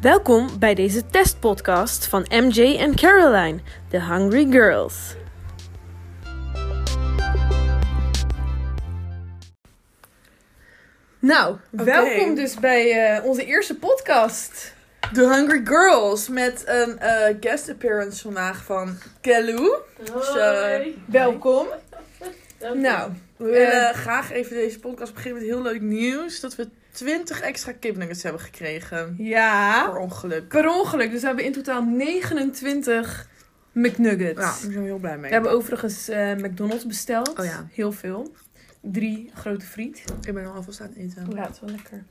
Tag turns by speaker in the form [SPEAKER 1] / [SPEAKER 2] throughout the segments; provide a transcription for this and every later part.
[SPEAKER 1] Welkom bij deze testpodcast van MJ en Caroline, de Hungry Girls. Nou, welkom dus bij eh, onze eerste podcast.
[SPEAKER 2] The Hungry Girls met een eh, guest appearance vandaag van Kelou. Dus, eh, welkom. Nou, we willen graag even deze podcast beginnen met heel leuk nieuws. Dat we 20 extra kipnuggets hebben gekregen.
[SPEAKER 3] Ja,
[SPEAKER 2] Voor ongeluk.
[SPEAKER 3] per ongeluk. Dus we hebben in totaal 29 McNuggets.
[SPEAKER 2] Nou, daar zijn we heel blij
[SPEAKER 3] We
[SPEAKER 2] mee.
[SPEAKER 3] hebben overigens eh, McDonald's besteld.
[SPEAKER 2] Oh ja.
[SPEAKER 3] Heel veel. Drie grote friet.
[SPEAKER 2] Ik ben al alvast aan het eten.
[SPEAKER 3] Ja, het Oh, is wel lekker.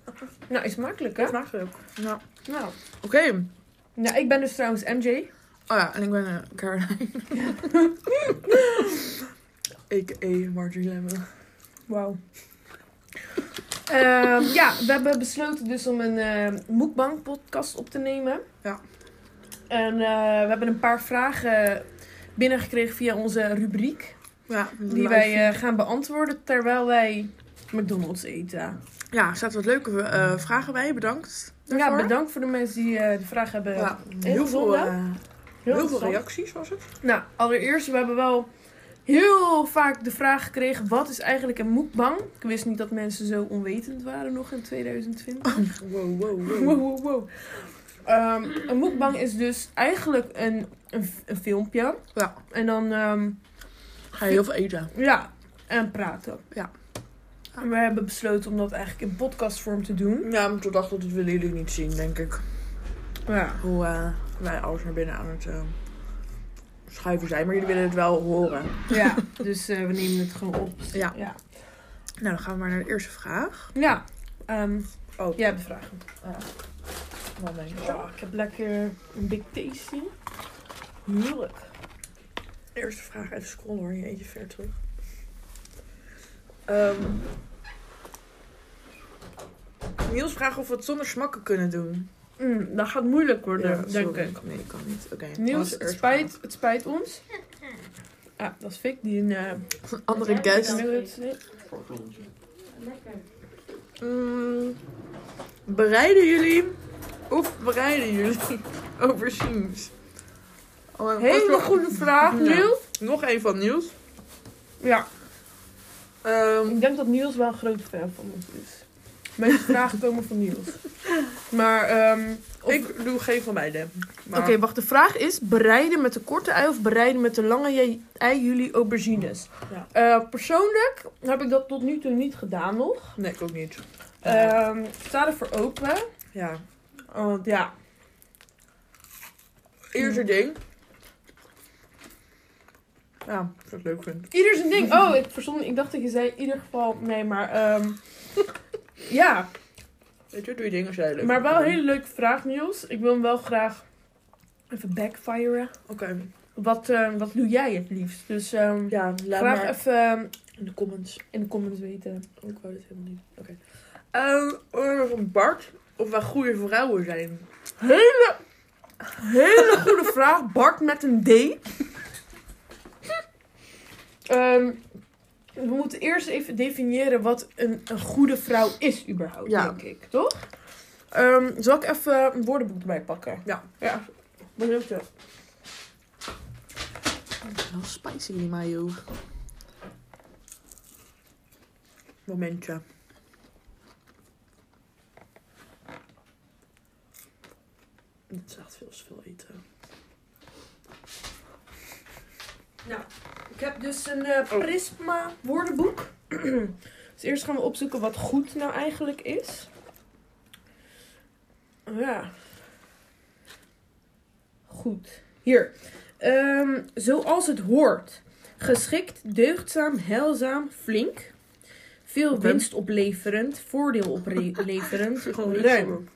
[SPEAKER 3] Nou, is makkelijk, hè?
[SPEAKER 2] Dat maakt ook. Nou,
[SPEAKER 3] Nou.
[SPEAKER 2] oké.
[SPEAKER 3] nou, ik ben dus trouwens MJ.
[SPEAKER 2] Oh ja, en ik ben eh, Caroline. A.k.a. Marjorie Lemmon.
[SPEAKER 3] Wauw. Ehm, ja, we hebben besloten dus om een eh Moekbank podcast op te nemen.
[SPEAKER 2] Ja.
[SPEAKER 3] En eh, we hebben een paar vragen binnengekregen via onze rubriek.
[SPEAKER 2] Ja,
[SPEAKER 3] Die wij eh, gaan beantwoorden terwijl wij McDonald's eten.
[SPEAKER 2] Ja, er zaten wat leuke eh, vragen bij. Bedankt daarvoor.
[SPEAKER 3] Ja, bedankt voor de mensen die eh, de vraag hebben.
[SPEAKER 2] Ja, heel
[SPEAKER 3] ingezonden.
[SPEAKER 2] veel, eh, heel veel
[SPEAKER 3] interessant.
[SPEAKER 2] reacties was het.
[SPEAKER 3] Nou, allereerst, we hebben wel heel vaak de vraag gekregen: wat is eigenlijk een mukbang? Ik wist niet dat mensen zo onwetend waren nog in 2020.
[SPEAKER 2] Wow, wow,
[SPEAKER 3] Oh, Wow, wow, wow. Ehm, een mukbang is dus eigenlijk een, een, een filmpje.
[SPEAKER 2] Ja.
[SPEAKER 3] En dan ehm,
[SPEAKER 2] Ga je heel veel eten.
[SPEAKER 3] ja, en praten.
[SPEAKER 2] Ja.
[SPEAKER 3] En we hebben besloten om dat eigenlijk in podcastvorm te doen.
[SPEAKER 2] Ja, maar toen dacht ik, dat willen jullie niet zien, denk ik.
[SPEAKER 3] Ja.
[SPEAKER 2] Hoe eh, wij alles naar binnen aan het eh, schuiven zijn. Maar jullie willen het wel horen.
[SPEAKER 3] Ja, dus eh, we nemen het gewoon op.
[SPEAKER 2] Ja.
[SPEAKER 3] Ja,
[SPEAKER 2] Nou, dan gaan we maar naar de eerste vraag.
[SPEAKER 3] ja ehm,
[SPEAKER 2] Oh.
[SPEAKER 3] jij hebt vragen.
[SPEAKER 2] Ah, Wat denk je?
[SPEAKER 3] Ja, ik heb lekker een big tasty. Heerlijk.
[SPEAKER 2] Eerste vraag. Even scrollen hoor, je eentje ver terug. Ehm, Niels vraagt of we het zonder smakken kunnen doen.
[SPEAKER 3] Mm, dat gaat moeilijk worden,
[SPEAKER 2] Ja,
[SPEAKER 3] denk
[SPEAKER 2] sorry.
[SPEAKER 3] ik.
[SPEAKER 2] Nee, kan niet. Oké. wat is
[SPEAKER 3] Niels,
[SPEAKER 2] de
[SPEAKER 3] het
[SPEAKER 2] eerste
[SPEAKER 3] spijt, het spijt ons. Ja, dat is Fik, die een eh,
[SPEAKER 2] vraag? Een andere guest.
[SPEAKER 3] nugget eet.
[SPEAKER 2] Mm, bereiden jullie of bereiden jullie aubergines? Oh, en vast
[SPEAKER 3] Hele
[SPEAKER 2] wel-
[SPEAKER 3] goede vraag,
[SPEAKER 2] Ja.
[SPEAKER 3] Niels.
[SPEAKER 2] Nog één van Niels.
[SPEAKER 3] Ja,
[SPEAKER 2] Ehm,
[SPEAKER 3] ik denk dat Niels wel een grote fan van ons is. Mijn vragen komen van Niels. Maar, ehm, of-
[SPEAKER 2] ik doe geen van beide.
[SPEAKER 3] Oké, wacht. De vraag is: bereiden met de korte ei of bereiden met de lange jij- ei jullie aubergines?
[SPEAKER 2] Ja.
[SPEAKER 3] Eh, persoonlijk heb ik dat tot nu toe niet gedaan nog.
[SPEAKER 2] Nee, ik ook niet.
[SPEAKER 3] Ehm, ik sta ervoor open.
[SPEAKER 2] Ja.
[SPEAKER 3] Want ja,
[SPEAKER 2] Eerste ding. Ja, als ik het leuk vind.
[SPEAKER 3] ieder zijn ding. Oh, ik verstond. Ik dacht dat je zei in ieder geval. Nee, maar ehm, ja,
[SPEAKER 2] Weet je, doe je dingen als jij het leuk
[SPEAKER 3] maar
[SPEAKER 2] vindt.
[SPEAKER 3] wel een hele leuke vraag, Niels. Ik wil hem wel graag even backfiren.
[SPEAKER 2] Oké.
[SPEAKER 3] Wat, eh, wat doe jij het liefst? Dus ehm,
[SPEAKER 2] Ja, laat
[SPEAKER 3] graag
[SPEAKER 2] maar
[SPEAKER 3] even ehm,
[SPEAKER 2] in de comments.
[SPEAKER 3] in de comments weten.
[SPEAKER 2] Oh, ik wou dit helemaal niet. Oké. Ehm, eh, van Bart, of wij goede vrouwen zijn.
[SPEAKER 3] Hele, hele goede vraag. Bart met een D. Ehm, we moeten eerst even definiëren wat een, een goede vrouw is überhaupt,
[SPEAKER 2] Ja.
[SPEAKER 3] denk ik. Toch? Ehm, zal ik even een woordenboek erbij pakken?
[SPEAKER 2] Ja.
[SPEAKER 3] Ja. Bedankt.
[SPEAKER 2] Wel spicy die mayo. Momentje. Dit is echt veel te veel eten.
[SPEAKER 3] Nou, Ik heb dus een eh,
[SPEAKER 2] Oh.
[SPEAKER 3] Prisma woordenboek. dus eerst gaan we opzoeken wat goed nou eigenlijk is. Oh Ja. Goed. Hier. Ehm, zoals het hoort. Geschikt, deugdzaam, heilzaam, flink. Veel
[SPEAKER 2] Oké.
[SPEAKER 3] winst opleverend, voordeel opleverend, ruim.
[SPEAKER 2] Ruim.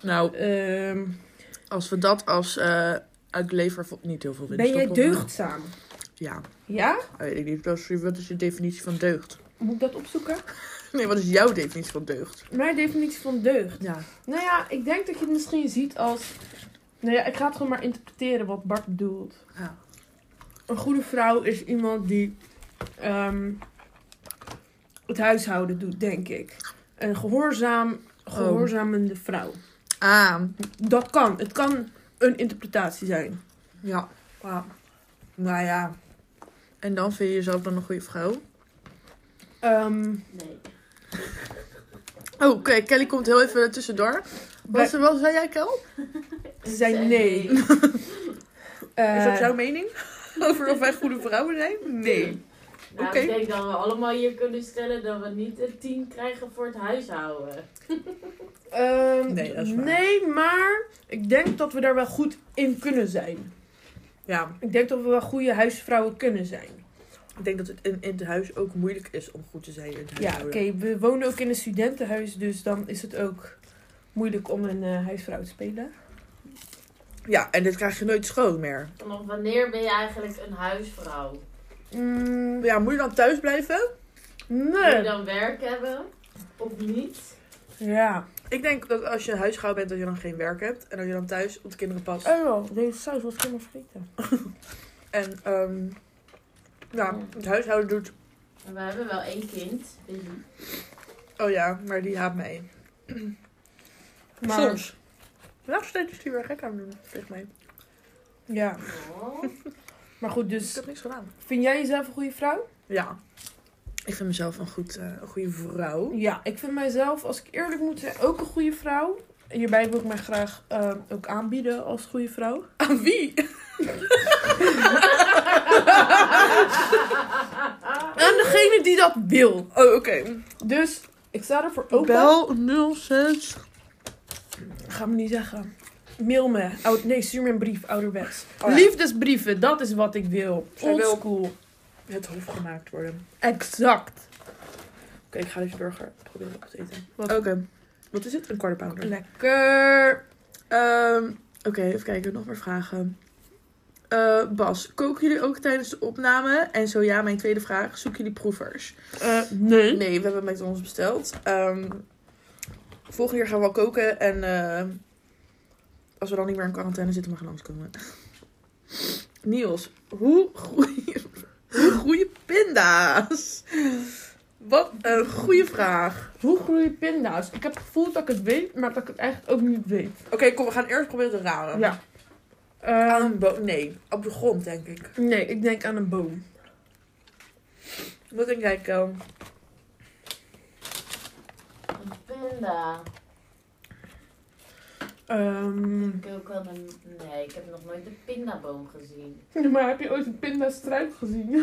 [SPEAKER 2] Nou,
[SPEAKER 3] Ehm,
[SPEAKER 2] als we dat als eh uitlever niet heel veel winst
[SPEAKER 3] ben jij
[SPEAKER 2] op- op-
[SPEAKER 3] deugdzaam?
[SPEAKER 2] Ja,
[SPEAKER 3] Ja?
[SPEAKER 2] weet ik niet. Dat is- Wat is je definitie van deugd?
[SPEAKER 3] Moet ik dat opzoeken?
[SPEAKER 2] Nee, wat is jouw definitie van deugd?
[SPEAKER 3] Mijn definitie van deugd.
[SPEAKER 2] Ja.
[SPEAKER 3] Nou ja, ik denk dat je het misschien ziet als. Nou ja, ik ga het gewoon maar interpreteren wat Bart bedoelt.
[SPEAKER 2] Ja.
[SPEAKER 3] Een goede vrouw is iemand die ehm,
[SPEAKER 2] Oh.
[SPEAKER 3] het huishouden doet, denk ik. Een gehoorzaam, gehoorzamende vrouw.
[SPEAKER 2] Ah,
[SPEAKER 3] Dat kan. Het kan een interpretatie zijn.
[SPEAKER 2] ja. Wauw. Nou ja. En dan vind je jezelf dan een goede vrouw?
[SPEAKER 3] Ehm,
[SPEAKER 4] Nee.
[SPEAKER 2] Oh, oké. Kelly komt heel even tussendoor. Wat, wat zei jij, Kel?
[SPEAKER 3] ze zei nee.
[SPEAKER 2] Is dat
[SPEAKER 3] Eh,
[SPEAKER 2] jouw mening? Over of wij goede vrouwen zijn? Nee.
[SPEAKER 4] Nou,
[SPEAKER 2] Oké.
[SPEAKER 4] ik denk dat we allemaal hier kunnen stellen dat we niet een 10 krijgen voor het huishouden.
[SPEAKER 3] ehm,
[SPEAKER 2] Nee, dat is waar.
[SPEAKER 3] nee, maar ik denk dat we daar wel goed in kunnen zijn.
[SPEAKER 2] Ja,
[SPEAKER 3] Ik denk dat we wel goede huisvrouwen kunnen zijn.
[SPEAKER 2] ik denk dat het in, in het huis ook moeilijk is om goed te zijn in het
[SPEAKER 3] Ja, oké.
[SPEAKER 2] huishouden.
[SPEAKER 3] we wonen ook in een studentenhuis, dus dan is het ook moeilijk om een eh, huisvrouw te spelen.
[SPEAKER 2] Ja, en dit krijg je nooit schoon meer.
[SPEAKER 4] Vanaf wanneer ben je eigenlijk een huisvrouw?
[SPEAKER 3] Mm,
[SPEAKER 2] Ja, moet je dan thuis blijven?
[SPEAKER 4] Moet je
[SPEAKER 3] nee.
[SPEAKER 4] dan werk hebben? Of niet?
[SPEAKER 3] Ja.
[SPEAKER 2] Ik denk dat als je een huisvrouw bent, dat je dan geen werk hebt. En dat je dan thuis op de kinderen past.
[SPEAKER 3] Oh, deze saus was ik helemaal vergeten.
[SPEAKER 2] En ehm ja, het huishouden doet...
[SPEAKER 4] En we hebben wel één kind, Dus- Billy.
[SPEAKER 2] Oh ja, maar die haat mij.
[SPEAKER 3] Maar-
[SPEAKER 2] Soms. Nog steeds is die weer gek aan het doen, tegen mij.
[SPEAKER 3] Ja.
[SPEAKER 4] Oh.
[SPEAKER 3] Maar goed,
[SPEAKER 2] Ik
[SPEAKER 3] dus
[SPEAKER 2] heb niks gedaan.
[SPEAKER 3] vind jij jezelf een goede vrouw?
[SPEAKER 2] Ja. Ik vind mezelf een, goed, eh, een goede vrouw.
[SPEAKER 3] Ja, ik vind mijzelf, als ik eerlijk moet zijn, ook een goede vrouw. Hierbij wil ik mij graag eh, ook aanbieden als goede vrouw.
[SPEAKER 2] Aan wie?
[SPEAKER 3] Aan degene die dat wil.
[SPEAKER 2] Oh, oké.
[SPEAKER 3] Dus ik sta ervoor open.
[SPEAKER 2] Bel 06.
[SPEAKER 3] Ga me niet zeggen. Mail me. Oud, nee, stuur me een brief, ouderwets.
[SPEAKER 2] Oh ja.
[SPEAKER 3] Liefdesbrieven, dat is wat ik wil.
[SPEAKER 2] Zij
[SPEAKER 3] Old
[SPEAKER 2] wil-
[SPEAKER 3] school.
[SPEAKER 2] Het hof gemaakt worden.
[SPEAKER 3] Exact.
[SPEAKER 2] Oké, ik ga deze burger proberen op te eten.
[SPEAKER 3] Wat-
[SPEAKER 2] Oké. Wat is het? Een quarter pounder.
[SPEAKER 3] Lekker.
[SPEAKER 2] Ehm, Oké, even kijken. Nog meer vragen. Eh, Bas, koken jullie ook tijdens de opname? En zo ja, mijn tweede vraag. Zoeken jullie proevers?
[SPEAKER 3] Eh, nee.
[SPEAKER 2] Nee, we hebben McDonald's besteld. Ehm, volgende keer gaan we wel koken. En eh, als we dan niet meer in quarantaine zitten, mag je langskomen. Niels, hoe groeien, hoe groeien pinda's? Wat een goede vraag.
[SPEAKER 3] Hoe groeien pinda's? Ik heb het gevoel dat ik het weet, maar dat ik het eigenlijk ook niet weet.
[SPEAKER 2] Oké, kom, we gaan eerst proberen te raden.
[SPEAKER 3] Ja. Eh,
[SPEAKER 2] Aan een boom? Nee, op de grond denk ik.
[SPEAKER 3] nee, ik denk aan een boom.
[SPEAKER 2] Wat denk jij, Kel?
[SPEAKER 4] Een panda.
[SPEAKER 3] Ehm,
[SPEAKER 4] Ik heb ook wel een... Nee, ik heb nog nooit een pindaboom gezien.
[SPEAKER 3] Maar heb je ooit een pindastruik gezien?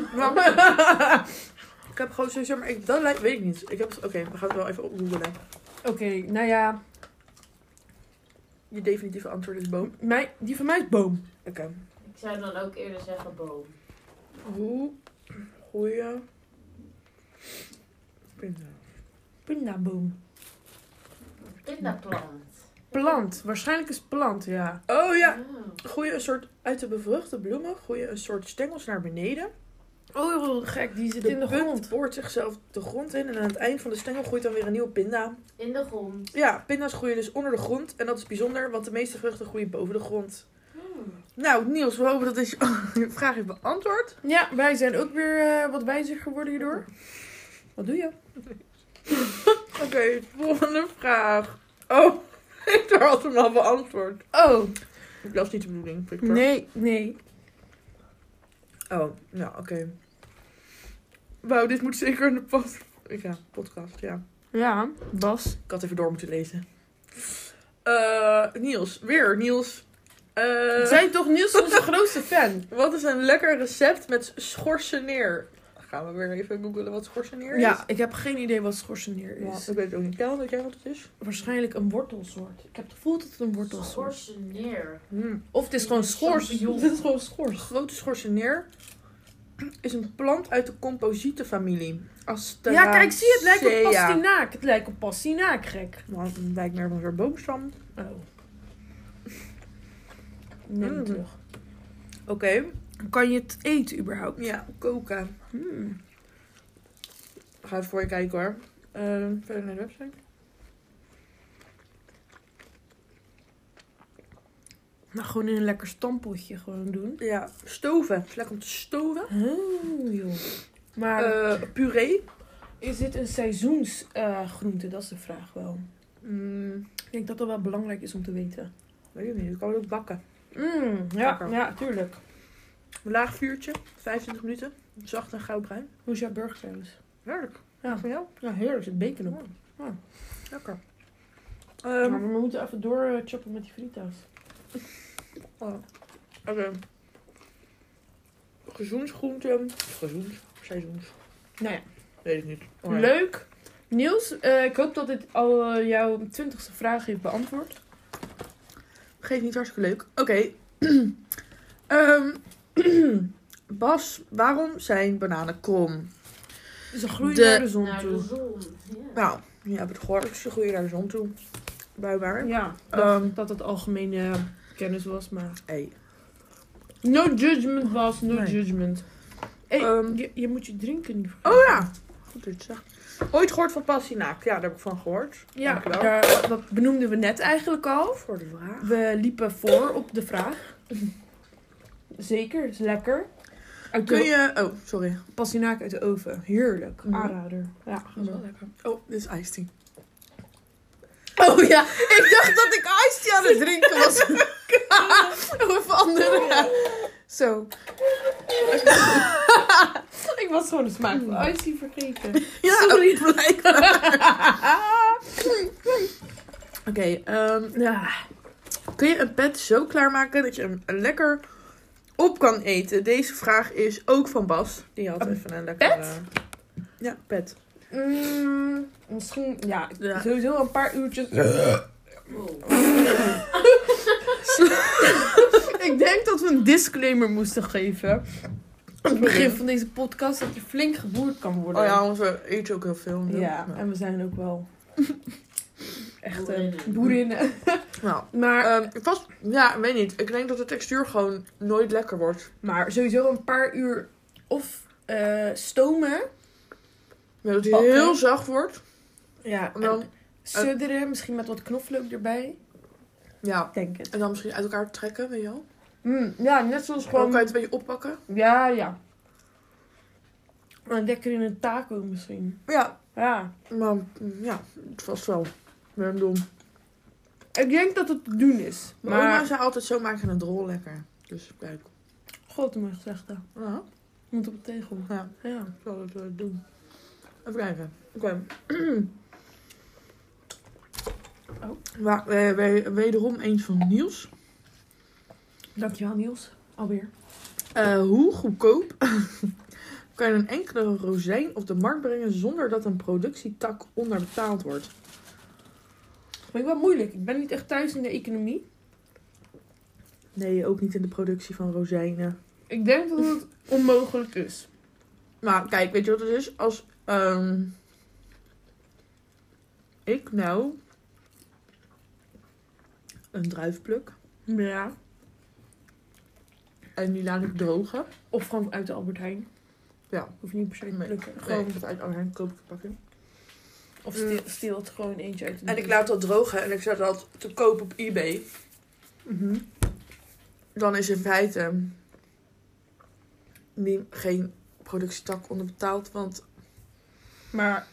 [SPEAKER 2] ik heb gewoon sowieso, maar ik, dat lijkt, weet ik niet. Ik heb, oké, we gaan het wel even opgoogelen.
[SPEAKER 3] Oké, nou ja,
[SPEAKER 2] Je definitieve antwoord is boom.
[SPEAKER 3] mij, die van mij is boom.
[SPEAKER 2] Oké.
[SPEAKER 4] Ik zou dan ook eerder zeggen boom.
[SPEAKER 2] Hoe goeie pinda.
[SPEAKER 3] Pindaboom.
[SPEAKER 4] Een pindaplant.
[SPEAKER 3] Plant, waarschijnlijk is plant, ja.
[SPEAKER 2] Oh ja,
[SPEAKER 4] Oh.
[SPEAKER 2] goeie een soort uit de bevruchte bloemen, goeie een soort stengels naar beneden.
[SPEAKER 3] Oh, heel gek, die zit
[SPEAKER 2] De
[SPEAKER 3] in de
[SPEAKER 2] punt
[SPEAKER 3] grond.
[SPEAKER 2] boort zichzelf de grond in en aan het eind van de stengel groeit dan weer een nieuwe pinda.
[SPEAKER 4] In de grond.
[SPEAKER 2] Ja, pinda's groeien dus onder de grond en dat is bijzonder, want de meeste vruchten groeien boven de grond.
[SPEAKER 4] Hmm.
[SPEAKER 2] Nou, Niels, we hopen dat deze vraag heeft beantwoord.
[SPEAKER 3] Ja, wij zijn ook weer eh, wat wijzer geworden hierdoor. Wat doe je?
[SPEAKER 2] Oké, volgende vraag. Oh, Victor had hem al beantwoord.
[SPEAKER 3] Oh,
[SPEAKER 2] Dat is niet de bedoeling, Victor.
[SPEAKER 3] nee, nee.
[SPEAKER 2] Oh, nou, oké. Wauw, dit moet zeker in de pod... ja, podcast, ja.
[SPEAKER 3] Ja, Bas.
[SPEAKER 2] Ik had even door moeten lezen. Eh, Niels, weer Niels. Eh,
[SPEAKER 3] Zijn toch Niels onze grootste fan?
[SPEAKER 2] Wat is een lekker recept met schorseneer? Gaan we weer even googlen wat schorseneer is?
[SPEAKER 3] Ja, ik heb geen idee wat schorseneer
[SPEAKER 2] Ja,
[SPEAKER 3] is.
[SPEAKER 2] ik weet het ook niet. Kel, weet jij wat het is?
[SPEAKER 3] Waarschijnlijk een wortelsoort. Ik heb het gevoel dat het een wortelsoort is.
[SPEAKER 4] Schorseneer.
[SPEAKER 2] Hmm.
[SPEAKER 3] Of het is gewoon schors.
[SPEAKER 4] Champignon.
[SPEAKER 3] Dit is gewoon schors.
[SPEAKER 2] Grote schorseneer is een plant uit de composietenfamilie. Asteraceae.
[SPEAKER 3] Ja, kijk, zie je, het lijkt op pastinaak. Het lijkt op pastinaak, gek.
[SPEAKER 2] Nou, het lijkt meer van zo'n boomstam.
[SPEAKER 3] Oh. Neem
[SPEAKER 2] Mm.
[SPEAKER 3] het terug.
[SPEAKER 2] Oké.
[SPEAKER 3] Kan je het eten überhaupt?
[SPEAKER 2] Ja, koken.
[SPEAKER 3] Hmm.
[SPEAKER 2] Ik Ga even voor je kijken hoor. Eh, verder naar de website.
[SPEAKER 3] Nou, gewoon in een lekker stampotje gewoon doen.
[SPEAKER 2] Ja, stoven. Het is lekker om te stoven.
[SPEAKER 3] Oh, joh. Maar
[SPEAKER 2] Eh, puree.
[SPEAKER 3] is dit een seizoensgroente? dat is de vraag wel.
[SPEAKER 2] Mm,
[SPEAKER 3] Ik denk dat dat wel belangrijk is om te weten.
[SPEAKER 2] weet ik niet, je kan het ook bakken.
[SPEAKER 3] ja,
[SPEAKER 2] Lekker.
[SPEAKER 3] Mm, ja, tuurlijk.
[SPEAKER 2] Een laag vuurtje, 25 minuten. Zacht en goudbruin.
[SPEAKER 3] Hoe is jouw burger trouwens?
[SPEAKER 2] Heerlijk.
[SPEAKER 3] Ja.
[SPEAKER 2] Van jou?
[SPEAKER 3] Ja, heerlijk. Zit bacon op.
[SPEAKER 2] Lekker.
[SPEAKER 3] maar
[SPEAKER 2] Ehm,
[SPEAKER 3] we moeten even doorchoppen met die frita's.
[SPEAKER 2] oh, Oké. Gezoensgroente. Gezoens. Seizoens.
[SPEAKER 3] Nou ja,
[SPEAKER 2] Weet ik niet. Oh,
[SPEAKER 3] Oh leuk. Niels, eh, ik hoop dat dit al eh, jouw twintigste vraag heeft beantwoord.
[SPEAKER 2] Geeft niet hartstikke leuk. Oké. Ehm, Bas, waarom zijn bananen krom?
[SPEAKER 3] Dus een groei
[SPEAKER 2] De-
[SPEAKER 3] naar de zon
[SPEAKER 4] Naar de Nou,
[SPEAKER 3] toe.
[SPEAKER 4] zon. Ja.
[SPEAKER 2] Nou, je hebt het gehoord. Ze groeien naar de zon toe. Blijkbaar.
[SPEAKER 3] Ja, dat,
[SPEAKER 2] Ehm.
[SPEAKER 3] dat het algemene eh, kennis was, maar...
[SPEAKER 2] Hey.
[SPEAKER 3] No judgment was, no
[SPEAKER 2] Nee.
[SPEAKER 3] judgment. Hey,
[SPEAKER 2] Ehm.
[SPEAKER 3] je, je moet je drinken niet vergeten.
[SPEAKER 2] Oh ja. Goed dat je het zegt. Ooit gehoord van Passinaak? Ja, daar heb ik van gehoord.
[SPEAKER 3] Ja,
[SPEAKER 2] Dankjewel.
[SPEAKER 3] daar, dat benoemden we net eigenlijk al.
[SPEAKER 2] Voor de vraag.
[SPEAKER 3] We liepen voor op de vraag. Zeker, is lekker. Uit
[SPEAKER 2] Kun
[SPEAKER 3] de
[SPEAKER 2] je... Oh, sorry.
[SPEAKER 3] pastinaak uit de oven. Heerlijk.
[SPEAKER 2] Mm.
[SPEAKER 3] Aanrader. Ja, gezellig.
[SPEAKER 2] lekker. Oh, dit is iced tea. Oh ja, ik dacht dat ik iced tea aan het drinken was.
[SPEAKER 3] Oh,
[SPEAKER 2] of andere. Zo.
[SPEAKER 3] Ik was gewoon de smaak van icey vergeten.
[SPEAKER 2] Ja, oh. sorry. blijkbaar. Oké, ehm,
[SPEAKER 3] Ja.
[SPEAKER 2] kun je een pet zo klaarmaken dat je hem lekker op kan eten? Deze vraag is ook van Bas. Die had
[SPEAKER 3] Een
[SPEAKER 2] even een lekker...
[SPEAKER 3] pet?
[SPEAKER 2] eh, ja, pet.
[SPEAKER 3] Mm, misschien, ja,
[SPEAKER 2] Ja.
[SPEAKER 3] sowieso een paar uurtjes.
[SPEAKER 4] Wow.
[SPEAKER 3] Ik denk dat we een disclaimer moesten geven. Aan het begin van deze podcast dat je flink geboerd kan worden.
[SPEAKER 2] Oh ja, want we eten ook heel veel.
[SPEAKER 3] Ja, en we zijn ook wel echt eh,
[SPEAKER 4] Boerinnen.
[SPEAKER 3] boerinnen.
[SPEAKER 2] Nou,
[SPEAKER 3] Maar eh,
[SPEAKER 2] Ehm, het was, ja, ik weet niet. Ik denk dat de textuur gewoon nooit lekker wordt.
[SPEAKER 3] Maar sowieso een paar uur of eh, stomen.
[SPEAKER 2] Ja, Dat hij
[SPEAKER 3] Bakken.
[SPEAKER 2] heel zacht wordt.
[SPEAKER 3] Ja,
[SPEAKER 2] En
[SPEAKER 3] en eh,
[SPEAKER 2] dan,
[SPEAKER 3] sudderen, misschien met wat knoflook erbij.
[SPEAKER 2] ja,
[SPEAKER 3] Ik denk het.
[SPEAKER 2] en dan misschien uit elkaar trekken, weet je wel.
[SPEAKER 3] Mm, ja, net
[SPEAKER 2] Gewoon
[SPEAKER 3] zoals
[SPEAKER 2] kan je
[SPEAKER 3] gewoon...
[SPEAKER 2] het een beetje oppakken.
[SPEAKER 3] Ja, ja. En lekker in een taco misschien.
[SPEAKER 2] Ja,
[SPEAKER 3] Ja.
[SPEAKER 2] maar mm, ja, het was wel random.
[SPEAKER 3] Ik denk dat het te doen is.
[SPEAKER 2] Mijn oma
[SPEAKER 3] Maar...
[SPEAKER 2] zei altijd, zo maak je een drol lekker. Dus kijk,
[SPEAKER 3] God, mijn gezegde.
[SPEAKER 2] ja,
[SPEAKER 3] Moet op de tegel.
[SPEAKER 2] ja
[SPEAKER 3] Ja.
[SPEAKER 2] ik zal het eh, doen. Even kijken. Oké.
[SPEAKER 3] Oh.
[SPEAKER 2] Wa- eh, we- wederom eens van Niels.
[SPEAKER 3] Dankjewel Niels. Alweer.
[SPEAKER 2] Eh, hoe goedkoop kan je een enkele rozijn op de markt brengen zonder dat een productietak onderbetaald wordt?
[SPEAKER 3] Vind ik wel moeilijk. Ik ben niet echt thuis in de economie.
[SPEAKER 2] Nee, ook niet in de productie van rozijnen.
[SPEAKER 3] Ik denk dat het onmogelijk is.
[SPEAKER 2] Maar kijk, weet je wat het is? Als ehm, ik nou een druif pluk
[SPEAKER 3] Ja.
[SPEAKER 2] en die laat ik drogen.
[SPEAKER 3] Of gewoon uit de Albert Heijn.
[SPEAKER 2] Ja.
[SPEAKER 3] Hoef je niet per se te
[SPEAKER 2] Nee.
[SPEAKER 3] plukken.
[SPEAKER 2] Nee,
[SPEAKER 3] Gewoon
[SPEAKER 2] ik heb het uit Arnhem koop ik een pakje.
[SPEAKER 3] Of
[SPEAKER 2] Mm.
[SPEAKER 3] stil, steelt gewoon eentje uit de
[SPEAKER 2] En
[SPEAKER 3] doos.
[SPEAKER 2] ik laat dat drogen en ik zet dat te koop op eBay.
[SPEAKER 3] Mhm.
[SPEAKER 2] dan is in feite nie- geen productietak onderbetaald. Want
[SPEAKER 3] Maar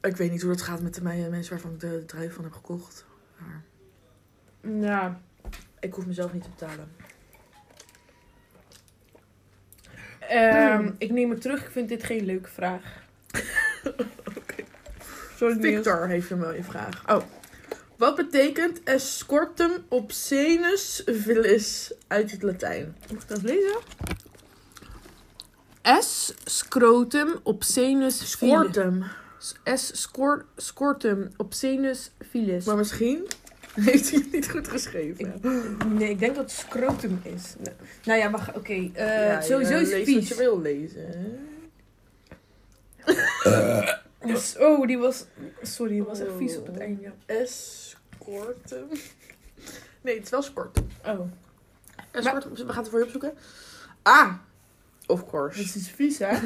[SPEAKER 2] ik weet niet hoe dat gaat met de me- mensen waarvan ik de druif van heb gekocht. Maar
[SPEAKER 3] ja,
[SPEAKER 2] ik hoef mezelf niet te betalen.
[SPEAKER 3] Ehm, ik neem het terug. Ik vind dit geen leuke vraag. Sorry Niels.
[SPEAKER 2] Victor heeft hem wel in vraag. Oh. Wat betekent escortum obscenus vilis uit het Latijn?
[SPEAKER 3] Moet ik dat lezen? S. Scrotum obscenus filis.
[SPEAKER 2] Scortum.
[SPEAKER 3] S. Scor scortum obscenus filis.
[SPEAKER 2] Maar misschien heeft hij het niet goed geschreven.
[SPEAKER 3] nee, ik denk dat het scrotum is. Nee. Nou ja, wacht. Oké. eh,
[SPEAKER 2] Ja,
[SPEAKER 3] sowieso
[SPEAKER 2] je
[SPEAKER 3] is het
[SPEAKER 2] leest wat
[SPEAKER 3] vies.
[SPEAKER 2] je wil lezen.
[SPEAKER 3] Dus- oh, die was... Sorry, die was echt vies op het einde.
[SPEAKER 2] Escortum. Nee, het is wel scortum.
[SPEAKER 3] Oh,
[SPEAKER 2] Escort, we gaan het voor je opzoeken. Ah, of course.
[SPEAKER 3] dit is vies, hè?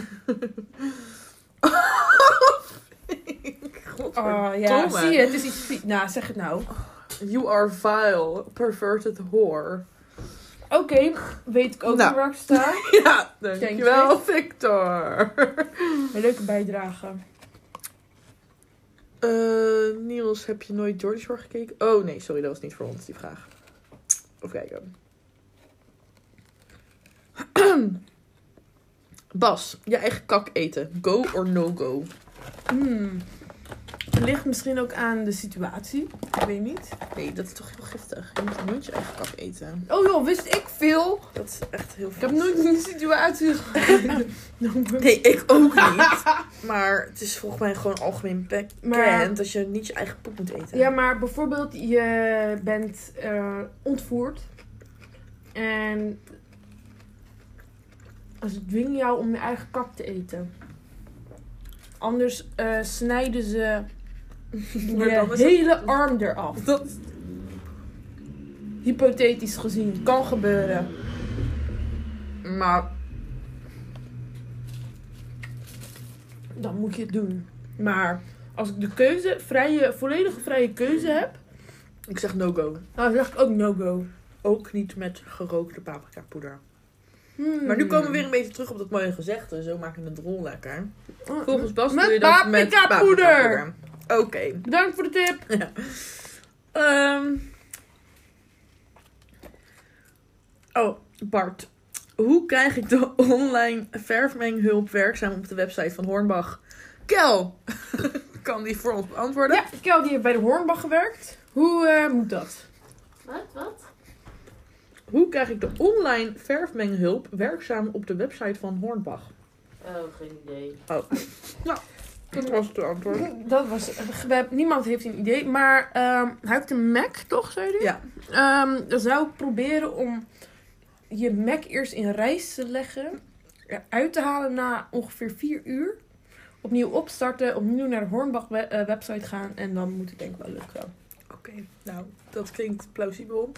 [SPEAKER 3] Oh ja,
[SPEAKER 2] Godverdomme.
[SPEAKER 3] zie je, het is iets vies. Nou, zeg het nou.
[SPEAKER 2] You are vile, perverted whore.
[SPEAKER 3] Oké, weet ik ook
[SPEAKER 2] Nou.
[SPEAKER 3] niet waar ik sta.
[SPEAKER 2] Ja, dankjewel Victor.
[SPEAKER 3] Een leuke bijdrage.
[SPEAKER 2] Eh, Niels, inmiddels heb je nooit Jordy Shore gekeken? Oh nee, sorry, dat was niet voor ons die vraag. Even kijken. Bas, je eigen kak eten. Go or no go?
[SPEAKER 3] Hmm. Ligt misschien ook aan de situatie. Ik weet niet.
[SPEAKER 2] Nee, dat is toch heel giftig. Je moet nooit je eigen kak eten.
[SPEAKER 3] Oh joh, wist ik veel.
[SPEAKER 2] Dat is echt heel
[SPEAKER 3] Ik heb nooit in die situatie gezeten.
[SPEAKER 2] Nee, ik ook niet. maar het is volgens mij gewoon algemeen bekend
[SPEAKER 3] Maar-
[SPEAKER 2] dat je niet je eigen poep moet eten.
[SPEAKER 3] Ja, maar bijvoorbeeld je bent eh, ontvoerd. En ze dwingen jou om je eigen kak te eten. Anders eh, snijden ze
[SPEAKER 2] Maar
[SPEAKER 3] je
[SPEAKER 2] dan is het-
[SPEAKER 3] hele arm eraf.
[SPEAKER 2] Dat...
[SPEAKER 3] Hypothetisch gezien, kan gebeuren.
[SPEAKER 2] Maar
[SPEAKER 3] Dan moet je het doen. Maar als ik de keuze, vrije, volledige vrije keuze heb,
[SPEAKER 2] ik zeg no go.
[SPEAKER 3] dan zeg ik ook no-go.
[SPEAKER 2] Ook niet met gerookte paprikapoeder. Maar nu komen we weer een beetje terug op dat mooie gezegde. Zo maak je het rol lekker.
[SPEAKER 3] Hmm.
[SPEAKER 2] Volgens Bas
[SPEAKER 3] Met
[SPEAKER 2] doe je dat met
[SPEAKER 3] paprikapoeder.
[SPEAKER 2] paprikapoeder. Oké.
[SPEAKER 3] Bedankt voor de tip.
[SPEAKER 2] Ehm. Oh, Bart. Hoe krijg ik de online verfmenghulp werkzaam op de website van Hornbach? Kel, kan die voor ons beantwoorden?
[SPEAKER 3] Ja, Kel die heeft bij de Hornbach gewerkt. Hoe eh, moet dat?
[SPEAKER 4] Wat? Wat?
[SPEAKER 2] Hoe krijg ik de online verfmenghulp werkzaam op de website van Hornbach?
[SPEAKER 4] Oh, geen idee.
[SPEAKER 2] Dat was het antwoord.
[SPEAKER 3] Hm, Dat was, we hebben- niemand heeft een idee, maar ehm, hij heeft een Mac, toch, zei hij?
[SPEAKER 2] Ja.
[SPEAKER 3] Ehm, dan zou ik proberen om je Mac eerst in rijst te leggen, uit te halen na ongeveer 4 uur. Opnieuw opstarten, opnieuw naar de Hornbach we- eh, website gaan en dan moet het denk ik wel lukken.
[SPEAKER 2] Oké, nou, dat klinkt plausibel.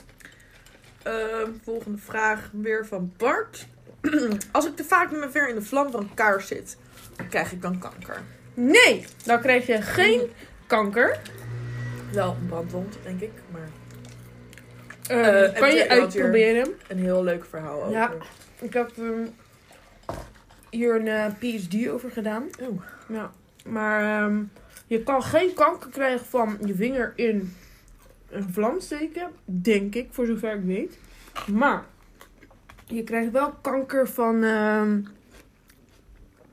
[SPEAKER 2] Ehm, volgende vraag weer van Bart. Als ik te vaak met mijn ver in de vlam van een kaars zit, krijg ik dan kanker?
[SPEAKER 3] Nee, dan krijg je geen kanker.
[SPEAKER 2] Wel een brandwond, denk ik, maar
[SPEAKER 3] Eh,
[SPEAKER 2] en
[SPEAKER 3] kan je
[SPEAKER 2] Jack Routier.
[SPEAKER 3] uitproberen.
[SPEAKER 2] een heel leuk verhaal over.
[SPEAKER 3] Ja. Ik heb ehm, hier een eh, PhD over gedaan.
[SPEAKER 2] Oeh.
[SPEAKER 3] Ja. Maar ehm, je kan geen kanker krijgen van je vinger in een vlam steken. Denk ik, voor zover ik weet. Maar je krijgt wel kanker van ehm,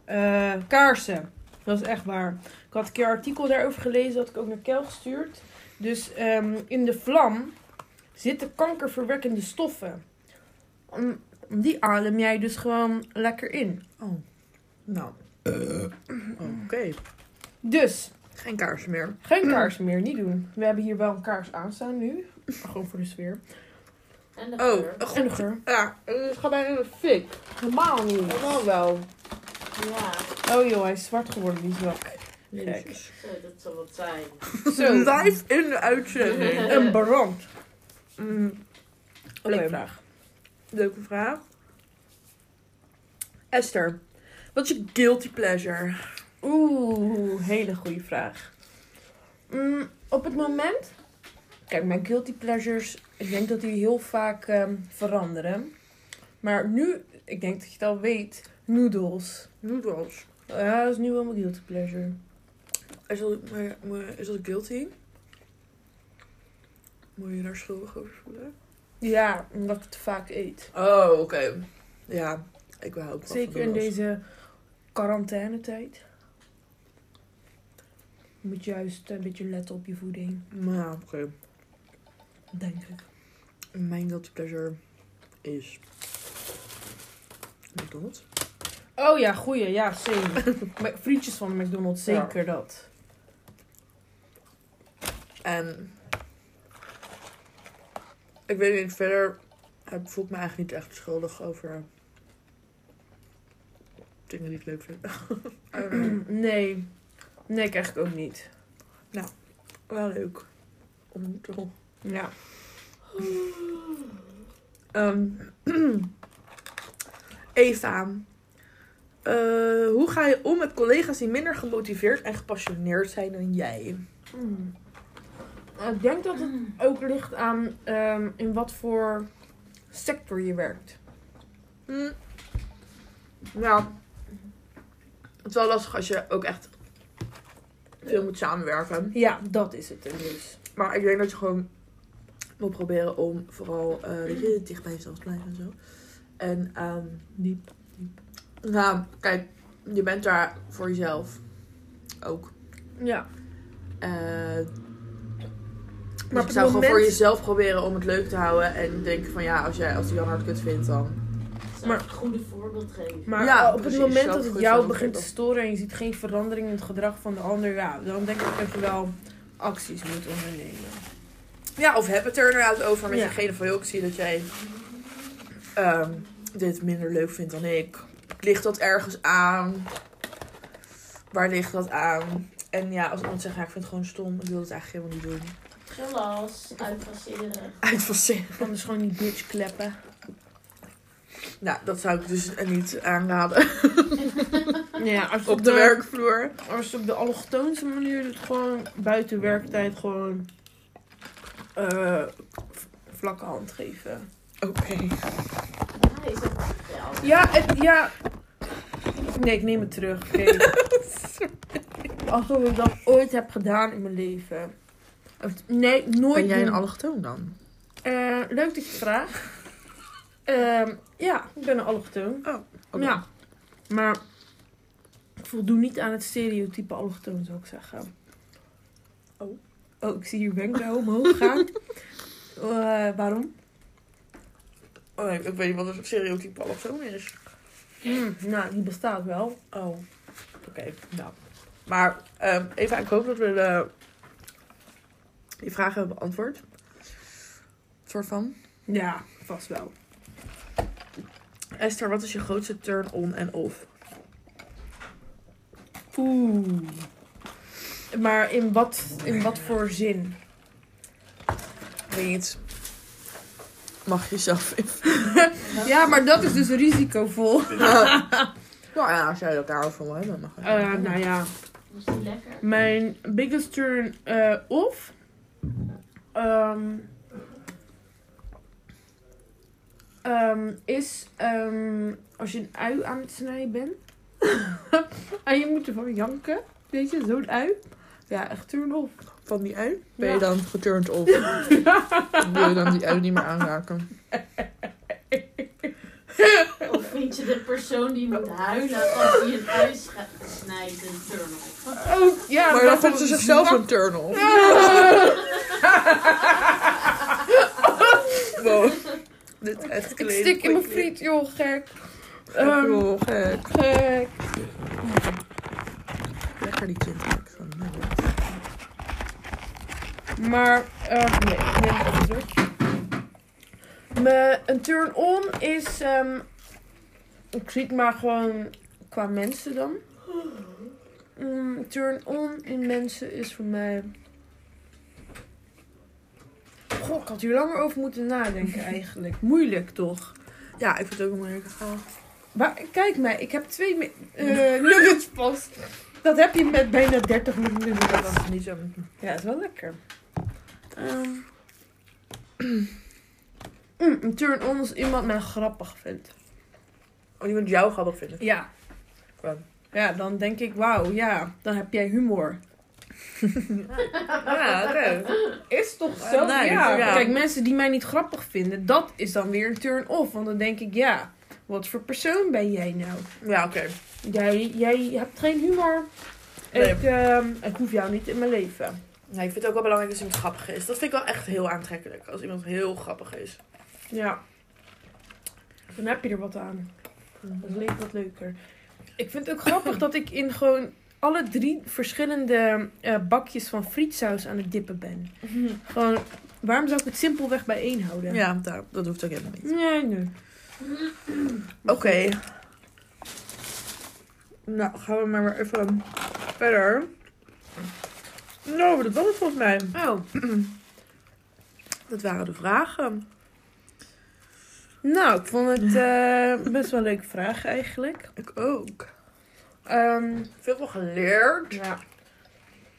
[SPEAKER 3] eh, kaarsen. Dat is echt waar. Ik had een keer een artikel daarover gelezen, dat had ik ook naar Kel gestuurd. Dus ehm, in de vlam zitten kankerverwekkende stoffen. Mm, die adem jij dus gewoon lekker in.
[SPEAKER 2] Oh, nou. Oké,
[SPEAKER 3] Dus,
[SPEAKER 2] geen kaars meer.
[SPEAKER 3] geen kaars meer, niet doen. We hebben hier wel een kaars aanstaan nu. Gewoon voor de sfeer.
[SPEAKER 4] En de
[SPEAKER 2] Oh,
[SPEAKER 4] geur.
[SPEAKER 2] eh, goed.
[SPEAKER 3] En de geur.
[SPEAKER 2] Ja, eh, het gaat bijna in de fik.
[SPEAKER 3] Normaal niet.
[SPEAKER 2] Allemaal wel.
[SPEAKER 4] Ja,
[SPEAKER 3] Oh joh, hij is zwart geworden, die zwak. Kijk.
[SPEAKER 2] Jezus.
[SPEAKER 4] zo, dat zal wat zijn.
[SPEAKER 3] Zo.
[SPEAKER 2] Live in de uitzending.
[SPEAKER 3] Een brand.
[SPEAKER 2] Mm,
[SPEAKER 3] Leuke
[SPEAKER 2] Oké.
[SPEAKER 3] vraag.
[SPEAKER 2] Leuke vraag. Esther, wat is je guilty pleasure?
[SPEAKER 3] Oeh, hele goede vraag. Mm, op het moment... Kijk, mijn guilty pleasures, ik denk dat die heel vaak ehm, veranderen. Maar nu, ik denk dat je het al weet, noedels.
[SPEAKER 2] Noodles.
[SPEAKER 3] Ja, dat is nu wel mijn guilty pleasure.
[SPEAKER 2] Is dat, maar- maar is dat guilty? Moet je je daar schuldig over voelen?
[SPEAKER 3] Ja, omdat ik het vaak eet.
[SPEAKER 2] Oh, oké. Ja, ik hou ook wel
[SPEAKER 3] Zeker
[SPEAKER 2] van
[SPEAKER 3] in
[SPEAKER 2] noedels.
[SPEAKER 3] deze quarantainetijd. Je moet juist een beetje letten op je voeding.
[SPEAKER 2] Maar ja, oké.
[SPEAKER 3] Denk ik.
[SPEAKER 2] Mijn guilty pleasure is McDonald's.
[SPEAKER 3] Oh ja, goeie. Ja, same. Maar Frietjes van de McDonald's, zeker dat.
[SPEAKER 2] En ik weet niet verder. Heb, voel ik me eigenlijk niet echt schuldig over dingen die ik leuk vind. I don't know.
[SPEAKER 3] Oh, Nee. Nee, ik eigenlijk ook niet.
[SPEAKER 2] Wel leuk. Om te horen.
[SPEAKER 3] Ja.
[SPEAKER 2] Ehm, Eva. Eh, hoe ga je om met collega's die minder gemotiveerd en gepassioneerd zijn dan jij?
[SPEAKER 3] Mm. Eh, Ik denk dat het ook ligt aan ehm, in wat voor sector je werkt.
[SPEAKER 2] Hm. Ja. Het is wel lastig als je ook echt veel moet samenwerken.
[SPEAKER 3] Ja, dat is het. Dus.
[SPEAKER 2] Maar ik denk dat je gewoon moet proberen om vooral eh, weet je, dicht bij jezelf te blijven en zo. En ehm
[SPEAKER 3] Diep.
[SPEAKER 2] nou, kijk, je bent daar voor jezelf ook.
[SPEAKER 3] Ja.
[SPEAKER 2] Eh,
[SPEAKER 3] Maar
[SPEAKER 2] maar ik
[SPEAKER 3] op het
[SPEAKER 2] zou gewoon voor
[SPEAKER 3] moment-
[SPEAKER 2] jezelf proberen om het leuk te houden. En denken van ja, als, jij, als die Jan hard kut vindt, dan...
[SPEAKER 4] Maar een goede voorbeeld geven.
[SPEAKER 3] Maar
[SPEAKER 2] Ja,
[SPEAKER 3] op
[SPEAKER 2] precies,
[SPEAKER 3] het moment
[SPEAKER 2] zelf
[SPEAKER 3] dat het
[SPEAKER 2] goed
[SPEAKER 3] jou
[SPEAKER 2] zelf
[SPEAKER 3] begint te
[SPEAKER 2] ontwikkelen.
[SPEAKER 3] storen en je ziet geen verandering in het gedrag van de ander, ja, dan denk ik dat je wel acties moet ondernemen.
[SPEAKER 2] Ja, of heb het er inderdaad over met
[SPEAKER 3] Ja.
[SPEAKER 2] degene van... joh, ik zie dat jij ehm, dit minder leuk vindt dan ik. Ligt dat ergens aan? Waar ligt dat aan? En ja, als iemand zegt, ja, ik vind het gewoon stom. Ik wil het eigenlijk helemaal niet doen.
[SPEAKER 4] Gelas, uitfaceren.
[SPEAKER 2] Uit van zin.
[SPEAKER 3] Anders dus gewoon die bitch kleppen.
[SPEAKER 2] Nou, dat zou ik dus eh, niet aanraden
[SPEAKER 3] Ja, als je
[SPEAKER 2] op de werkvloer.
[SPEAKER 3] Als je op de allochtoonse manier doet, gewoon buiten werktijd gewoon eh, v- vlakke hand geven.
[SPEAKER 2] Oké.
[SPEAKER 4] Hij is ook wel.
[SPEAKER 3] Ja, het, ja. Nee, ik neem het terug. Oké. Alsof ik dat ooit heb gedaan in mijn leven. Of- Nee, nooit
[SPEAKER 2] Ben jij een
[SPEAKER 3] doen.
[SPEAKER 2] allochtoon dan?
[SPEAKER 3] Eh, leuk dat je het vraagt. Ehm, ja, ik ben een allochtoon.
[SPEAKER 2] Oké.
[SPEAKER 3] Ja. Maar ik voldoe niet aan het stereotype allochtoon, zou ik zeggen.
[SPEAKER 2] Oh.
[SPEAKER 3] Oh, ik zie hier wenkbrauw omhoog gaan. Eh, waarom?
[SPEAKER 2] Oh, nee, ik weet niet wat een stereotype allochtoon is.
[SPEAKER 3] Hm, nou, die bestaat wel.
[SPEAKER 2] Oh. Oké, nou. Maar ehm Eva, ik hoop dat we de, die vragen hebben beantwoord. soort van.
[SPEAKER 3] Ja, vast wel.
[SPEAKER 2] Esther, wat is je grootste turn on en off?
[SPEAKER 3] Oeh. Maar in wat, in wat voor zin?
[SPEAKER 2] Ik weet niet. Mag je zelf even.
[SPEAKER 3] Ja, maar dat is dus risicovol.
[SPEAKER 2] nou ja, als jij dat daarover wil hebben, mag je.
[SPEAKER 3] Eh, nou ja.
[SPEAKER 4] Was die lekker?
[SPEAKER 3] Mijn biggest turn eh off. ehm, ehm, is ehm, als je een ui aan het snijden bent. en je moet ervan janken. Weet je, zo'n ui. Ja, echt turn off.
[SPEAKER 2] Van die ui ben je
[SPEAKER 3] Ja.
[SPEAKER 2] dan geturned off. Wil je dan die ui niet meer aanraken?
[SPEAKER 4] Of vind je de persoon die moet huilen als hij het huis gaat- snijdt een turn-off?
[SPEAKER 3] Ook, Oh, ja,
[SPEAKER 2] Maar dan vond ze zichzelf een turn off. Wow. Dit is echt
[SPEAKER 3] Ik stik in mijn friet, joh, gek. Ehm,
[SPEAKER 2] Joh, gek.
[SPEAKER 3] gek.
[SPEAKER 2] Lekker die kindpak van eh, mij.
[SPEAKER 3] Maar, eh, nee, ik neem het even terug. Me- Een turn-on is, ehm, ik zie het maar gewoon qua mensen dan. Mm, turn-on in mensen is voor mij... Goh, ik had hier langer over moeten nadenken eigenlijk. Moeilijk toch?
[SPEAKER 2] Ja, ik vind het ook moeilijk. Oh.
[SPEAKER 3] Maar kijk mij, ik heb twee mi- eh, nuggets pas. Dat heb je met bijna 30 nuggets.
[SPEAKER 2] Dat was niet zo.
[SPEAKER 3] Ja, is wel lekker. Ehm. Mm, een turn-on als iemand mij grappig vindt.
[SPEAKER 2] Oh, iemand jou grappig vinden.
[SPEAKER 3] Ja.
[SPEAKER 2] Wel.
[SPEAKER 3] Ja, dan denk ik, wauw, ja, dan heb jij humor.
[SPEAKER 2] Ja, leuk.
[SPEAKER 3] Is toch
[SPEAKER 2] zo? Ja.
[SPEAKER 3] Kijk, mensen die mij niet grappig vinden, dat is dan weer een turn-off. Want dan denk ik, ja, wat voor persoon ben jij nou?
[SPEAKER 2] Ja, oké.
[SPEAKER 3] Jij, jij hebt geen humor.
[SPEAKER 2] Nee.
[SPEAKER 3] Ik, ehm, ik hoef jou niet in mijn leven.
[SPEAKER 2] Nee, ik vind het ook wel belangrijk dat iemand grappig is. Dat vind ik wel echt heel aantrekkelijk. Als iemand heel grappig is.
[SPEAKER 3] Ja. Dan heb je er wat aan. Dat leek wat leuker. Ik vind het ook grappig dat ik in gewoon alle drie verschillende eh, bakjes van frietsaus aan het dippen ben. Gewoon, waarom zou ik het simpelweg bijeen houden?
[SPEAKER 2] Mhm. Ja, Mm. daar, dat hoeft ook helemaal niet.
[SPEAKER 3] Nee, nee.
[SPEAKER 2] Oké. Nou, gaan we maar weer even verder. Nou, dat was het volgens mij.
[SPEAKER 3] Oh,
[SPEAKER 2] Dat waren de vragen.
[SPEAKER 3] nou, ik vond het eh, best wel een leuke vraag eigenlijk.
[SPEAKER 2] Ik ook.
[SPEAKER 3] Ehm,
[SPEAKER 2] Veel van geleerd.
[SPEAKER 3] ja.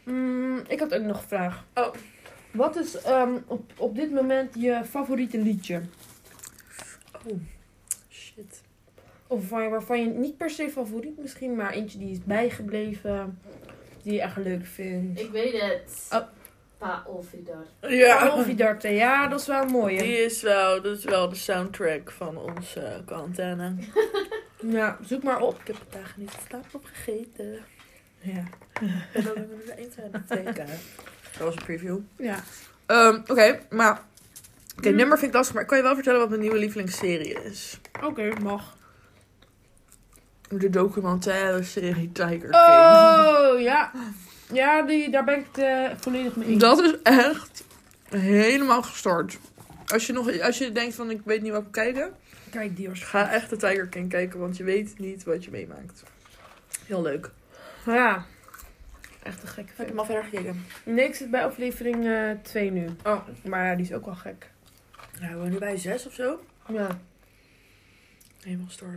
[SPEAKER 3] Mm, ik had ook nog een vraag.
[SPEAKER 2] Oh.
[SPEAKER 3] Wat is ehm, op, op dit moment je favoriete liedje?
[SPEAKER 2] Oh, Shit.
[SPEAKER 3] Of waar- waarvan je niet per se favoriet misschien, maar eentje die is bijgebleven. die je echt leuk vindt.
[SPEAKER 4] Ik weet het.
[SPEAKER 3] Oh.
[SPEAKER 4] Pa Olvidor.
[SPEAKER 2] Ja.
[SPEAKER 3] Olvidarte, ja, dat is wel een mooie.
[SPEAKER 2] Die is wel, dat is wel de soundtrack van onze eh, quarantaine.
[SPEAKER 3] Ja, zoek maar op.
[SPEAKER 2] Ik heb vandaag niet slaap op gegeten.
[SPEAKER 3] Ja.
[SPEAKER 2] En dan hebben we er eentje aan het denken. Dat was een preview.
[SPEAKER 3] Ja.
[SPEAKER 2] Ehm, Oké, maar... Oké,
[SPEAKER 3] Mm.
[SPEAKER 2] nummer vind ik lastig, maar ik kan je wel vertellen wat mijn nieuwe lievelingsserie is.
[SPEAKER 3] Oké, mag.
[SPEAKER 2] De documentaire serie Tiger King.
[SPEAKER 3] Oh, ja. Ja, die, daar ben ik het eh, volledig mee eens.
[SPEAKER 2] Dat is echt helemaal gestort. Als je, nog, als je denkt van ik weet niet wat ik moet kijken,
[SPEAKER 3] Kijk, die was
[SPEAKER 2] ga echt de Tiger King kijken, want je weet niet wat je meemaakt. Heel leuk.
[SPEAKER 3] Ja. Echt een gekke film.
[SPEAKER 2] al verder gekeken?
[SPEAKER 3] Nee, ik zit bij aflevering eh, 2 nu.
[SPEAKER 2] Oh.
[SPEAKER 3] Maar ja, die is ook wel gek.
[SPEAKER 2] Ja, we zijn nu bij zes of zo.
[SPEAKER 3] Ja.
[SPEAKER 2] Helemaal stort.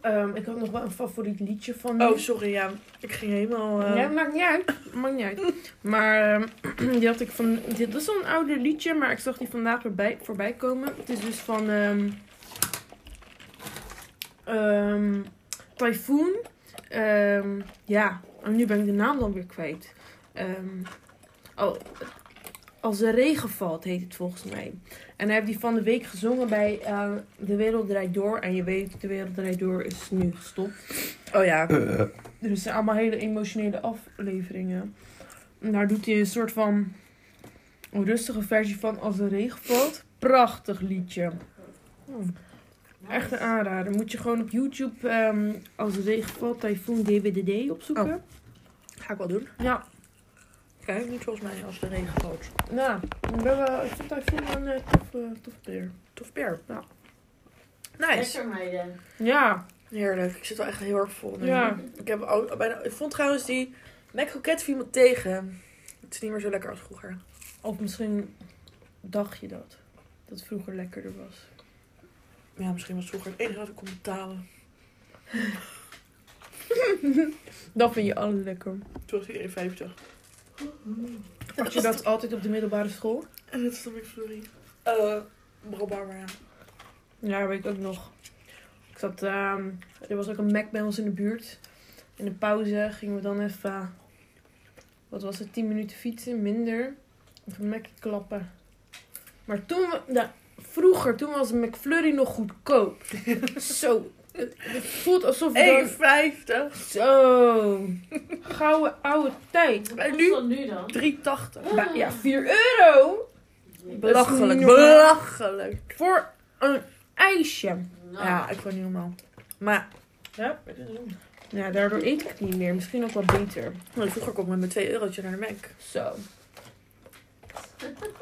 [SPEAKER 3] Ehm, ik had nog wel een favoriet liedje van die.
[SPEAKER 2] Oh, sorry, ja. Ik ging helemaal... eh,
[SPEAKER 3] Mhm. Ja, maakt niet uit. Maakt niet uit. Maar ehm, die had ik van... Dit was al een ouder liedje, maar ik zag die vandaag erbij, voorbij komen. Het is dus van... ehm, ehm, Typhoon. Ehm, ja, en nu ben ik de naam dan weer kwijt. Ehm, oh, als de regen valt, heet het volgens mij. En hij heeft die van de week gezongen bij eh, De Wereld Draait Door. En je weet, De Wereld Draait Door is nu gestopt.
[SPEAKER 2] Oh ja.
[SPEAKER 3] Dus het zijn allemaal hele emotionele afleveringen. En daar doet hij een soort van rustige versie van Als de regen valt. Prachtig liedje. Echt eh, een aanrader. Moet je gewoon op YouTube ehm, Als de regen valt Typhoon DWDD opzoeken.
[SPEAKER 2] Ga ik wel doen.
[SPEAKER 3] Ja,
[SPEAKER 2] Kijk, niet volgens mij als de regen valt.
[SPEAKER 3] nou, ik, ben wel, ik vind Typhoon wel een eh, toffe, toffe player.
[SPEAKER 2] Tof peer.
[SPEAKER 3] Ja.
[SPEAKER 2] Nice.
[SPEAKER 4] Lekker meiden.
[SPEAKER 3] Ja,
[SPEAKER 2] Heerlijk. Ik zit wel echt heel erg vol nu.
[SPEAKER 3] ja.
[SPEAKER 2] Ik, heb al, bijna, ik vond trouwens die Mac Rocket viel me tegen. Het is niet meer zo lekker als vroeger.
[SPEAKER 3] Of misschien dacht je dat. Dat het vroeger lekkerder was.
[SPEAKER 2] Ja, misschien was vroeger het enige wat ik kon betalen.
[SPEAKER 3] Dat vind je alle lekker.
[SPEAKER 2] Toen was hij 1,50.
[SPEAKER 3] Had je dat altijd op de middelbare school?
[SPEAKER 2] En dit is dan weer sorry. Eh, Barbara. maar ja.
[SPEAKER 3] Ja, weet ik ook nog. Ik zat, ehm, er was ook een Mac bij ons in de buurt. In de pauze gingen we dan even, eh, wat was het, 10 minuten fietsen, minder. Even Mac klappen. Maar toen, we, nou, vroeger, toen was een McFlurry nog goedkoop. Zo. Het, het voelt alsof we dan...
[SPEAKER 2] 1,50.
[SPEAKER 3] Zo. Gouden oude tijd.
[SPEAKER 2] En
[SPEAKER 4] Wat
[SPEAKER 2] nu?
[SPEAKER 4] is dat nu dan?
[SPEAKER 2] 3,80.
[SPEAKER 3] Ba- ja, 4 euro
[SPEAKER 2] Belachelijk.
[SPEAKER 3] niet normaal.
[SPEAKER 2] Belachelijk.
[SPEAKER 3] voor een ijsje.
[SPEAKER 4] Nou,
[SPEAKER 2] Ja, ik vond het niet normaal. Maar
[SPEAKER 3] Ja, ja, daardoor eet ik het niet meer. Misschien ook wat beter.
[SPEAKER 2] nou, vroeger kon ik met mijn 2 eurotje naar de Mac.
[SPEAKER 3] Zo.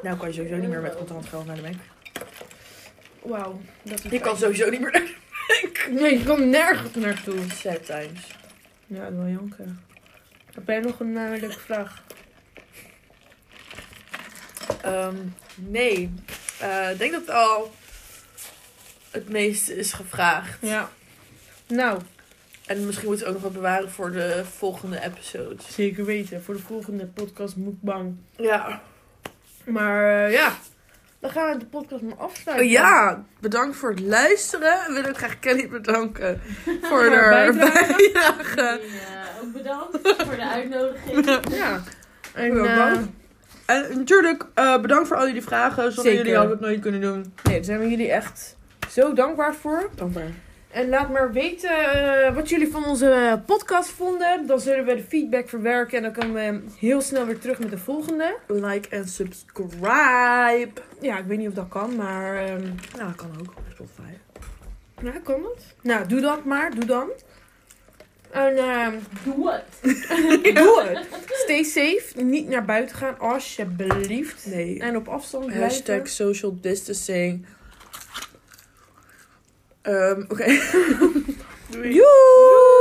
[SPEAKER 2] Nou kan je sowieso niet meer met contant geld naar de Mac.
[SPEAKER 3] Wauw. dat is
[SPEAKER 2] Je kan
[SPEAKER 3] fijn.
[SPEAKER 2] sowieso niet meer naar
[SPEAKER 3] Nee, je komt nergens naartoe.
[SPEAKER 2] Sad times.
[SPEAKER 3] Ja, dat wil janken. Heb jij nog een eh, leuke vraag?
[SPEAKER 2] Ehm, nee. Eh, Ik denk dat het al het meeste is gevraagd.
[SPEAKER 3] Ja. Nou,
[SPEAKER 2] En misschien moeten we ook nog wat bewaren voor de volgende episode.
[SPEAKER 3] zeker weten. Voor de volgende podcast Moekbang.
[SPEAKER 2] Ja.
[SPEAKER 3] Maar eh, ja, dan gaan we de podcast maar afsluiten.
[SPEAKER 2] Oh, ja, bedankt voor het luisteren. We willen ook graag Kelly bedanken voor
[SPEAKER 3] Haar
[SPEAKER 2] haar
[SPEAKER 3] bijdrage.
[SPEAKER 2] bijdrage.
[SPEAKER 4] jullie, eh, ook bedankt voor de uitnodiging.
[SPEAKER 3] Ja. En,
[SPEAKER 2] Ja,
[SPEAKER 3] eh,
[SPEAKER 2] bang. En natuurlijk, eh, bedankt voor al jullie vragen. Zonder
[SPEAKER 3] Zeker.
[SPEAKER 2] jullie hadden we het nooit kunnen doen.
[SPEAKER 3] nee, daar zijn we jullie echt zo dankbaar voor.
[SPEAKER 2] Dankbaar.
[SPEAKER 3] En laat maar weten eh, wat jullie van onze eh, podcast vonden. Dan zullen we de feedback verwerken. En dan komen we heel snel weer terug met de volgende.
[SPEAKER 2] Like en subscribe.
[SPEAKER 3] Ja, ik weet niet of dat kan, maar... ehm,
[SPEAKER 2] Nou, dat kan ook op Spotify.
[SPEAKER 3] Ja, kan dat? Nou, doe dat maar. Doe dan. En ehm,
[SPEAKER 4] Doe het.
[SPEAKER 3] doe het. Stay safe. Niet naar buiten gaan, alsjeblieft.
[SPEAKER 2] Nee.
[SPEAKER 3] En op afstand blijven.
[SPEAKER 2] Hashtag social distancing. Ehm, Oké. Doei.
[SPEAKER 3] Doei.